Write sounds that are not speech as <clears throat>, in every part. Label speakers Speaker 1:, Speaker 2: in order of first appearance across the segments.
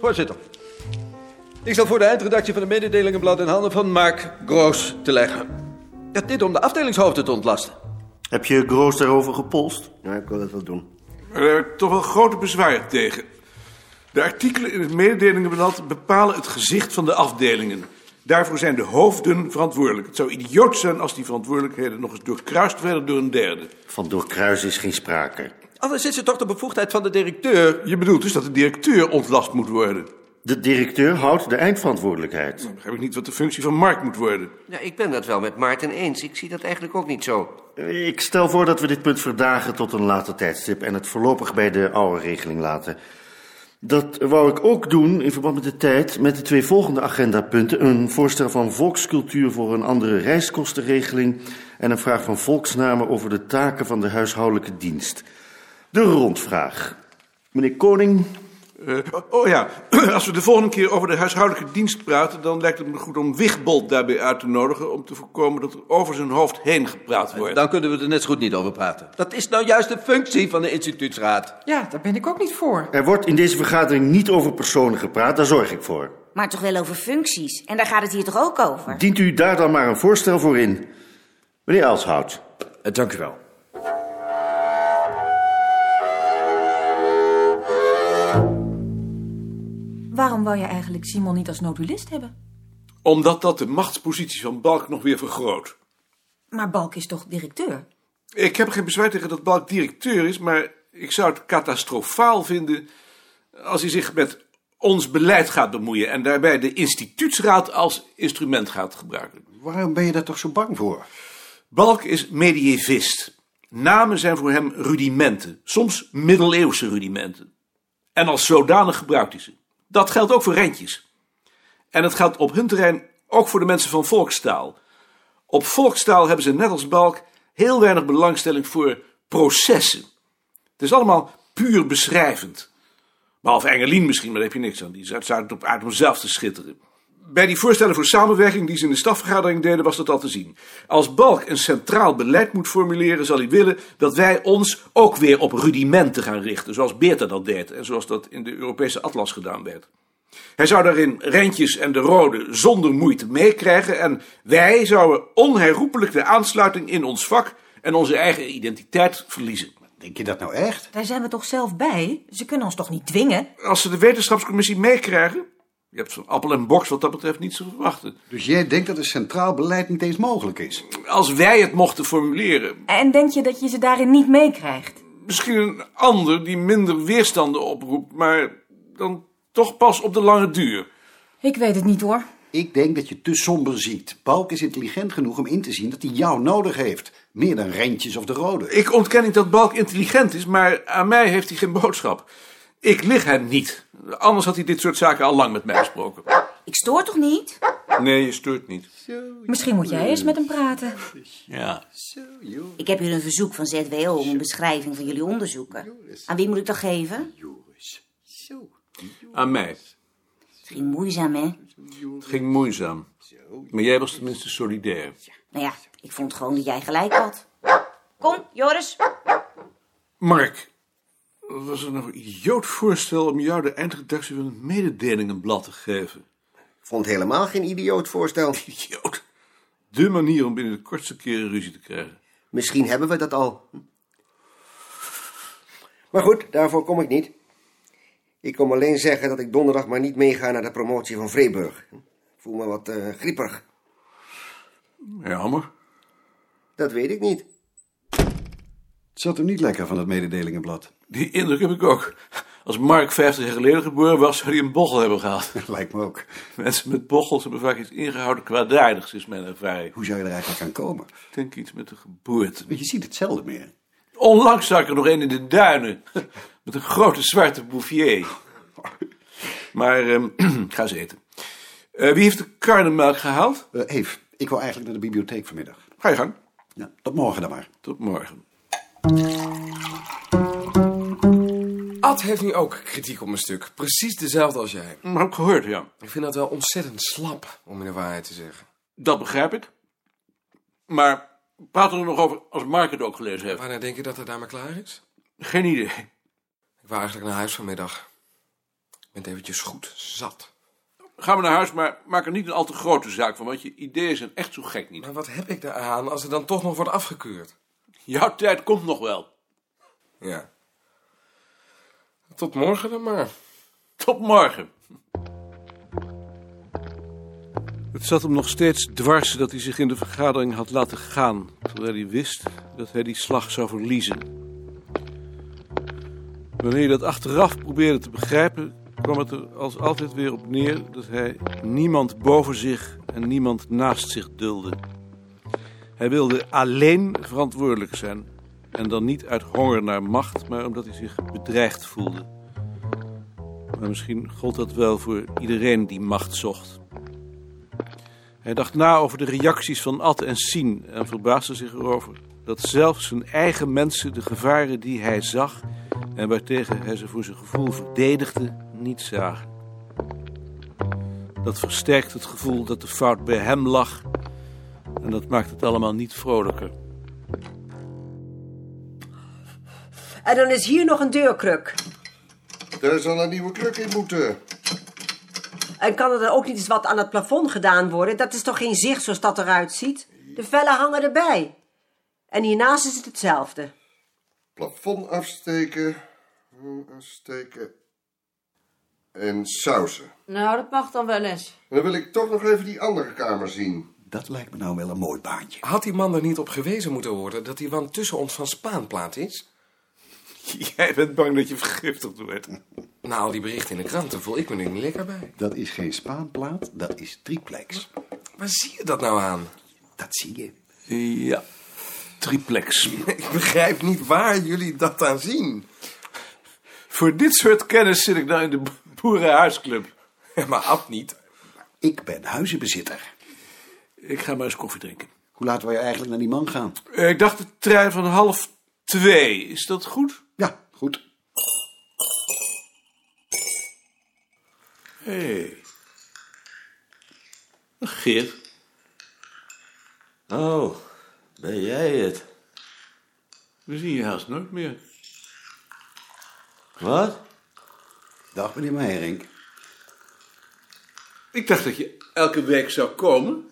Speaker 1: Voorzitter. Ik stel voor de eindredactie van de mededelingenblad in handen van Mark Groos te leggen. Ja, dit om de afdelingshoofden te ontlasten.
Speaker 2: Heb je Groos daarover gepolst?
Speaker 3: Ja, ik wil dat wel doen.
Speaker 4: Maar daar heb ik toch wel grote bezwaar tegen. De artikelen in het mededelingenblad bepalen het gezicht van de afdelingen. Daarvoor zijn de hoofden verantwoordelijk. Het zou idioot zijn als die verantwoordelijkheden nog eens doorkruist werden door een derde.
Speaker 2: Van doorkruis is geen sprake.
Speaker 1: Anders is het toch de bevoegdheid van de directeur.
Speaker 4: Je bedoelt dus dat de directeur ontlast moet worden.
Speaker 2: De directeur houdt de eindverantwoordelijkheid.
Speaker 4: Dan begrijp ik niet wat de functie van Mark moet worden.
Speaker 5: Ja, ik ben dat wel met Maarten eens. Ik zie dat eigenlijk ook niet zo.
Speaker 2: Ik stel voor dat we dit punt verdagen tot een later tijdstip en het voorlopig bij de oude regeling laten. Dat wou ik ook doen in verband met de tijd met de twee volgende agendapunten. Een voorstel van volkscultuur voor een andere reiskostenregeling en een vraag van volksnamen over de taken van de huishoudelijke dienst. De rondvraag. Meneer Koning,
Speaker 4: Eh, oh ja, <clears throat> als we de volgende keer over de huishoudelijke dienst praten... dan lijkt het me goed om Wigbold daarbij uit te nodigen... om te voorkomen dat er over zijn hoofd heen gepraat wordt.
Speaker 1: Dan kunnen we er net zo goed niet over praten. Dat is nou juist de functie van de instituutsraad.
Speaker 6: Ja, daar ben ik ook niet voor.
Speaker 2: er wordt in deze vergadering niet over personen gepraat, daar zorg ik voor.
Speaker 7: Maar toch wel over functies. En daar gaat het hier toch ook over?
Speaker 2: Dient u daar dan maar een voorstel voor in? Meneer Elshout.
Speaker 8: dank u wel.
Speaker 6: Waarom wou je eigenlijk Simon niet als nodulist hebben?
Speaker 4: Omdat dat de machtspositie van Balk nog weer vergroot.
Speaker 6: Maar Balk is toch directeur?
Speaker 4: Ik heb geen bezwaar tegen dat Balk directeur is... maar ik zou het catastrofaal vinden... als hij zich met ons beleid gaat bemoeien... en daarbij de instituutsraad als instrument gaat gebruiken.
Speaker 3: Waarom ben je daar toch zo bang voor?
Speaker 4: Balk is medievist. Namen zijn voor hem rudimenten, soms middeleeuwse rudimenten. En als zodanig gebruikt hij ze. Dat geldt ook voor rentjes. En het geldt op hun terrein ook voor de mensen van volkstaal. Op volkstaal hebben ze net als Balk heel weinig belangstelling voor processen. Het is allemaal puur beschrijvend. Behalve Engelien misschien, maar daar heb je niks aan. Die is uitzonderlijk op aard om zelf te schitteren. Bij die voorstellen voor samenwerking die ze in de stafvergadering deden, was dat al te zien. Als Balk een centraal beleid moet formuleren, zal hij willen dat wij ons ook weer op rudimenten gaan richten. Zoals Beerta dat deed en zoals dat in de Europese atlas gedaan werd. Hij zou daarin Rentjes en de Rode zonder moeite meekrijgen en wij zouden onherroepelijk de aansluiting in ons vak en onze eigen identiteit verliezen.
Speaker 3: Denk je dat nou echt?
Speaker 6: Daar zijn we toch zelf bij? Ze kunnen ons toch niet dwingen?
Speaker 4: Als ze de wetenschapscommissie meekrijgen, je hebt van appel en box wat dat betreft niets te verwachten.
Speaker 3: Dus jij denkt dat een centraal beleid niet eens mogelijk is?
Speaker 4: Als wij het mochten formuleren,
Speaker 6: En denk je dat je ze daarin niet meekrijgt?
Speaker 4: misschien een ander die minder weerstanden oproept, maar dan toch pas op de lange duur.
Speaker 6: Ik weet het niet hoor.
Speaker 3: Ik denk dat je te somber ziet. Balk is intelligent genoeg om in te zien dat hij jou nodig heeft. Meer dan Rentjes of de Rode.
Speaker 4: Ik ontken niet dat Balk intelligent is, maar aan mij heeft hij geen boodschap. Ik lig hem niet. Anders had hij dit soort zaken al lang met mij gesproken.
Speaker 7: Ik stoor toch niet?
Speaker 4: Nee, je stuurt niet.
Speaker 6: Misschien moet jij eens met hem praten.
Speaker 4: Ja.
Speaker 7: Ik heb hier een verzoek van ZWO om een beschrijving van jullie onderzoeken. Aan wie moet ik dat geven?
Speaker 4: Aan mij.
Speaker 7: Het ging moeizaam, hè?
Speaker 4: Het ging moeizaam. Maar jij was tenminste solidair.
Speaker 7: Nou ja, ik vond gewoon dat jij gelijk had. Kom, Joris.
Speaker 4: Mark, was er nog een idioot voorstel om jou de eindredactie van het mededelingenblad te geven?
Speaker 9: Ik vond helemaal geen idioot voorstel.
Speaker 4: Idioot. De manier om binnen de kortste keren ruzie te krijgen.
Speaker 9: Misschien hebben we dat al. Maar goed, daarvoor kom ik niet. Ik kom alleen zeggen dat ik donderdag maar niet meega naar de promotie van Vreeburg. Ik voel me wat eh grieperig.
Speaker 4: Jammer.
Speaker 9: Dat weet ik niet.
Speaker 3: Het zat hem niet lekker van dat mededelingenblad. <laughs>
Speaker 4: Die indruk heb ik ook. Als Mark 50 jaar geleden geboren was, zou hij een bochel hebben gehad. <laughs>
Speaker 3: Lijkt me ook.
Speaker 4: Mensen met bochels hebben vaak iets ingehouden kwaadaardigs, is mijn ervaring.
Speaker 3: Hoe zou je er eigenlijk aan komen?
Speaker 4: Ik denk iets met de geboorte.
Speaker 3: Want je ziet het zelden meer.
Speaker 4: Onlangs zag ik er nog een in de duinen. <laughs> Met een grote zwarte bouffier. Maar, ehm, <clears throat> ga eens eten. Eh, wie heeft de karnemelk gehaald?
Speaker 3: Eh Eve, ik wil eigenlijk naar de bibliotheek vanmiddag.
Speaker 4: Ga je gang.
Speaker 3: Ja, tot morgen dan maar.
Speaker 4: Tot morgen.
Speaker 8: Ad heeft nu ook kritiek op mijn stuk. Precies dezelfde als jij.
Speaker 4: Maar heb ik gehoord, ja.
Speaker 8: Ik vind dat wel ontzettend slap, om in de waarheid te zeggen.
Speaker 4: Dat begrijp ik. Maar praten we er nog over als Mark het ook gelezen heeft?
Speaker 8: Wanneer denk je dat het daar maar klaar is?
Speaker 4: Geen idee.
Speaker 8: Ik wou eigenlijk naar huis vanmiddag. bent eventjes goed zat.
Speaker 4: Ga maar naar huis, maar maak er niet een al te grote zaak van, want je ideeën zijn echt zo gek niet.
Speaker 8: Maar wat heb ik daar aan als het dan toch nog wordt afgekeurd?
Speaker 4: Jouw tijd komt nog wel.
Speaker 8: Ja. Tot morgen dan maar.
Speaker 4: Tot morgen. Het zat hem nog steeds dwars dat hij zich in de vergadering had laten gaan, terwijl hij wist dat hij die slag zou verliezen. Wanneer hij dat achteraf probeerde te begrijpen, kwam het er als altijd weer op neer dat hij niemand boven zich en niemand naast zich duldde. Hij wilde alleen verantwoordelijk zijn en dan niet uit honger naar macht, maar omdat hij zich bedreigd voelde. Maar misschien gold dat wel voor iedereen die macht zocht. Hij dacht na over de reacties van Ad en Sien en verbaasde zich erover dat zelfs zijn eigen mensen de gevaren die hij zag en waartegen hij ze voor zijn gevoel verdedigde, niet zagen. Dat versterkt het gevoel dat de fout bij hem lag en dat maakt het allemaal niet vrolijker.
Speaker 10: En dan is hier nog een deurkruk.
Speaker 11: Er zal een nieuwe kruk in moeten.
Speaker 10: En kan er dan ook niet eens wat aan het plafond gedaan worden? Dat is toch geen zicht zoals dat eruit ziet? De vellen hangen erbij. En hiernaast is het hetzelfde.
Speaker 11: Plafond afsteken. Afsteken. En sausen.
Speaker 12: Nou, dat mag dan wel eens.
Speaker 11: En dan wil ik toch nog even die andere kamer zien.
Speaker 3: Dat lijkt me nou wel een mooi baantje.
Speaker 8: Had die man er niet op gewezen moeten worden dat die wand tussen ons van Spaanplaat is?
Speaker 4: <laughs> Jij bent bang dat je vergiftigd wordt.
Speaker 8: Na al die berichten in de kranten voel ik me nu niet lekker bij.
Speaker 3: Dat is geen Spaanplaat, dat is triplex.
Speaker 8: Waar zie je dat nou aan?
Speaker 3: Dat zie je.
Speaker 4: Ja, triplex.
Speaker 8: <laughs> Ik begrijp niet waar jullie dat aan zien.
Speaker 4: Voor dit soort kennis zit ik nou in de boerenhuisclub.
Speaker 8: Maar Ab niet.
Speaker 3: Ik ben huizenbezitter.
Speaker 4: Ik ga maar eens koffie drinken.
Speaker 3: Hoe laat wil je eigenlijk naar die man gaan?
Speaker 4: Ik dacht de trein van half twee. Is dat goed?
Speaker 3: Ja, goed.
Speaker 4: Hé. Hey. Geert.
Speaker 13: Oh, ben jij het?
Speaker 4: We zien je haast nooit meer.
Speaker 13: Wat?
Speaker 3: Dag, meneer Meijering.
Speaker 4: Ik dacht dat je elke week zou komen.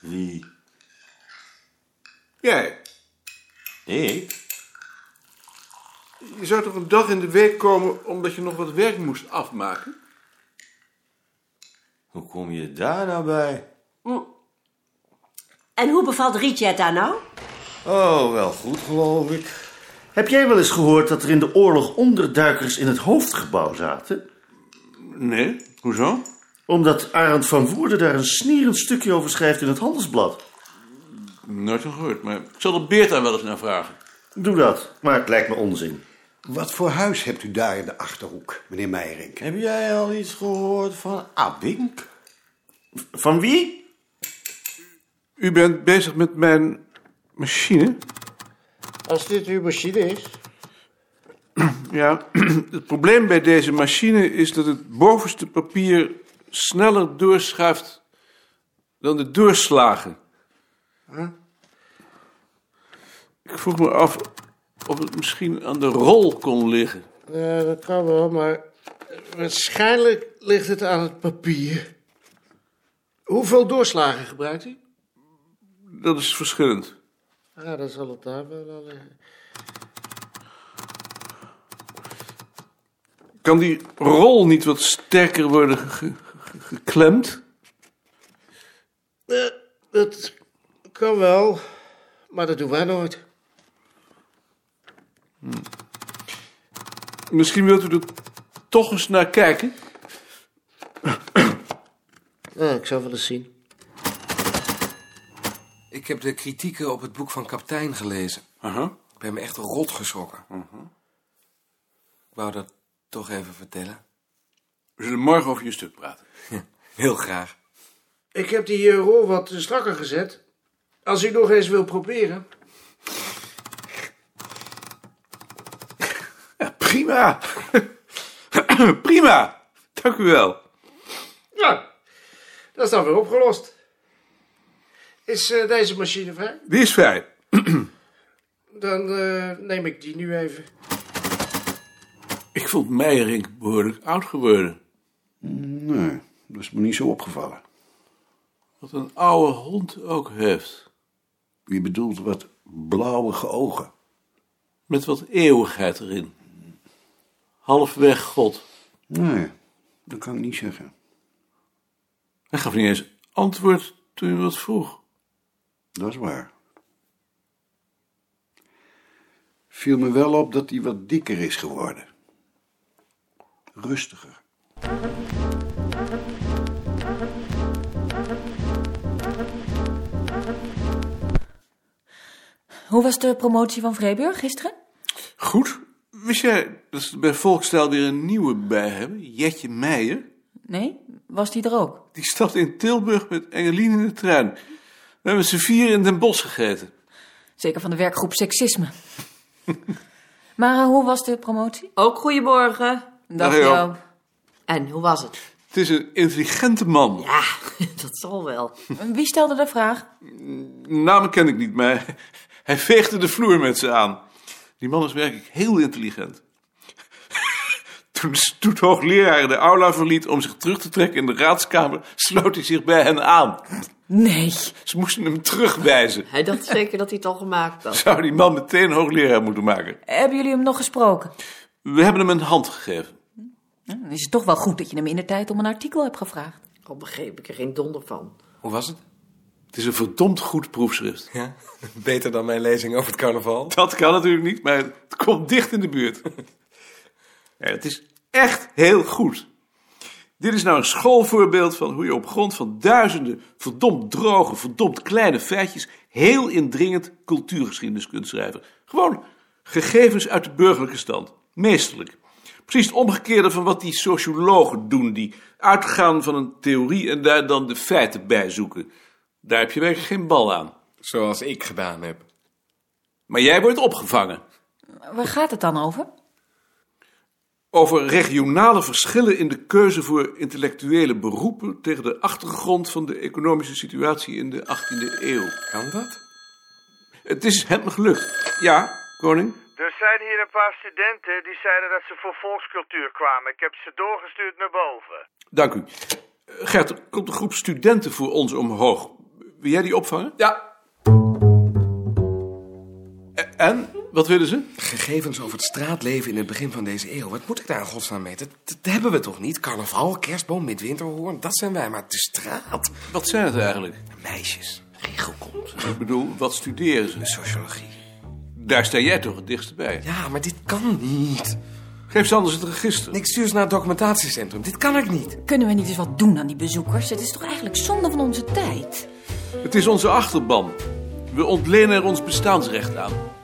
Speaker 13: Wie?
Speaker 4: Jij.
Speaker 13: Ik?
Speaker 4: Je zou toch een dag in de week komen omdat je nog wat werk moest afmaken?
Speaker 13: Hoe kom je daar nou bij?
Speaker 10: En hoe bevalt Rietje het daar nou?
Speaker 13: Oh, wel goed geloof ik.
Speaker 2: Heb jij wel eens gehoord dat er in de oorlog onderduikers in het hoofdgebouw zaten?
Speaker 4: Nee, hoezo?
Speaker 2: Omdat Arend van Woerden daar een snierend stukje over schrijft in het Handelsblad.
Speaker 4: Nooit van gehoord, maar ik zal de Beert daar wel eens naar vragen.
Speaker 2: Doe dat, maar het lijkt me onzin.
Speaker 3: Wat voor huis hebt u daar in de Achterhoek, meneer Meijering?
Speaker 13: Heb jij al iets gehoord van Abink?
Speaker 2: Van wie?
Speaker 4: U bent bezig met mijn machine?
Speaker 13: Als dit uw machine is.
Speaker 4: <clears throat> Ja, <clears throat> het probleem bij deze machine is dat het bovenste papier sneller doorschuift dan de doorslagen. Huh? Ik vroeg me af of het misschien aan de rol kon liggen.
Speaker 13: Ja, dat kan Eh, wel, maar waarschijnlijk ligt het aan het papier. Hoeveel doorslagen gebruikt u?
Speaker 4: Dat is verschillend.
Speaker 13: Ja, dan Ah, zal het daar wel aan liggen.
Speaker 4: Kan die rol niet wat sterker worden ge- ge- geklemd?
Speaker 13: Ja, dat kan wel, maar dat doen wij nooit.
Speaker 4: Hm. Misschien wilt u er toch eens naar kijken?
Speaker 13: Ja, ik zou wel eens zien.
Speaker 8: Ik heb de kritieken op het boek van Kaptein gelezen.
Speaker 4: Uh-huh.
Speaker 8: Ik ben me echt rot geschrokken.
Speaker 4: Uh-huh.
Speaker 8: Ik wou dat toch even vertellen.
Speaker 4: We zullen morgen over je stuk praten.
Speaker 8: Heel graag.
Speaker 13: Ik heb die eh, rol wat strakker gezet. Als u nog eens wil proberen.
Speaker 4: Ja, prima. <clears throat> prima. Dank u wel.
Speaker 13: Ja, dat is dan weer opgelost. Is eh, deze machine vrij?
Speaker 4: Die is vrij.
Speaker 13: Dan eh, neem ik die nu even.
Speaker 4: Ik vond Meijerink behoorlijk oud geworden.
Speaker 3: Nee, dat is me niet zo opgevallen.
Speaker 4: Wat een oude hond ook heeft.
Speaker 3: Je bedoelt wat blauwige ogen.
Speaker 4: Met wat eeuwigheid erin. Halfweg God.
Speaker 3: Nee, dat kan ik niet zeggen.
Speaker 4: Hij gaf niet eens antwoord toen je wat vroeg.
Speaker 3: Dat is waar. Viel me wel op dat hij wat dikker is geworden. Rustiger.
Speaker 6: Hoe was de promotie van Vreeburg gisteren?
Speaker 4: Goed. Wist jij dat ze er bij Volksstijl weer een nieuwe bij hebben? Jetje Meijer.
Speaker 6: Nee? Was die er ook?
Speaker 4: Die stapte in Tilburg met Engelien in de trein. We hebben ze vier in Den Bosch gegeten.
Speaker 6: Zeker van de werkgroep seksisme. <laughs> maar eh, hoe was de promotie?
Speaker 12: Ook goedemorgen.
Speaker 4: Dag, Joop. Joop.
Speaker 12: En hoe was het?
Speaker 4: Het is een intelligente man.
Speaker 12: Ja, <laughs> dat zal wel.
Speaker 6: Wie stelde de vraag?
Speaker 4: Namen ken ik niet, maar <laughs> hij veegde de vloer met ze aan. Die man is werkelijk heel intelligent. <laughs> Toen de stoethoogleraar de aula verliet om zich terug te trekken in de raadskamer, sloot hij zich bij hen aan.
Speaker 6: Nee.
Speaker 4: Ze moesten hem terugwijzen.
Speaker 12: Hij dacht zeker dat hij het al gemaakt had.
Speaker 4: Zou die man meteen hoogleraar moeten maken?
Speaker 6: Hebben jullie hem nog gesproken?
Speaker 4: We hebben hem een hand gegeven.
Speaker 6: Nou, Dan is het toch wel goed dat je hem in de tijd om een artikel hebt gevraagd.
Speaker 12: Al begreep ik er geen donder van.
Speaker 8: Hoe was het?
Speaker 4: Het is een verdomd goed proefschrift.
Speaker 8: Ja? Beter dan mijn lezing over het carnaval.
Speaker 4: Dat kan natuurlijk niet, maar het komt dicht in de
Speaker 8: <laughs>
Speaker 4: buurt. Ja, het is echt heel goed. Dit is nou een schoolvoorbeeld van hoe je op grond van duizenden verdomd droge, verdomd kleine feitjes heel indringend cultuurgeschiedenis kunt schrijven. Gewoon gegevens uit de burgerlijke stand, meesterlijk. Precies het omgekeerde van wat die sociologen doen, die uitgaan van een theorie en daar dan de feiten bij zoeken. Daar heb je werkelijk geen bal aan.
Speaker 8: Zoals ik gedaan heb.
Speaker 4: Maar jij wordt opgevangen.
Speaker 6: Waar gaat het dan over?
Speaker 4: over regionale verschillen in de keuze voor intellectuele beroepen tegen de achtergrond van de economische situatie in de 18e eeuw.
Speaker 8: Kan dat?
Speaker 4: Het is hem gelukt. Ja, koning?
Speaker 14: Er zijn hier een paar studenten die zeiden dat ze voor volkscultuur kwamen. Ik heb ze doorgestuurd naar boven.
Speaker 4: Dank u. Eh, Gert, er komt een groep studenten voor ons omhoog. Wil jij die opvangen?
Speaker 8: Ja.
Speaker 4: E, En? Wat willen ze?
Speaker 8: Gegevens over het straatleven in het begin van deze eeuw. Wat moet ik daar in godsnaam mee? Dat, dat hebben we toch niet? Carnaval, kerstboom, midwinterhoorn, dat zijn wij. Maar de straat.
Speaker 4: Wat zijn het eigenlijk?
Speaker 8: Meisjes, regelkomt,
Speaker 4: Ik bedoel, wat studeren ze?
Speaker 8: sociologie.
Speaker 4: Daar sta jij toch het dichtst bij?
Speaker 8: Ja, maar dit kan niet.
Speaker 4: Geef ze anders het register.
Speaker 8: Ik stuur ze naar het documentatiecentrum. Dit kan ik niet.
Speaker 6: Kunnen we niet eens wat doen aan die bezoekers? Het is toch eigenlijk zonde van onze tijd?
Speaker 4: Het is onze achterban. We ontlenen er ons bestaansrecht aan.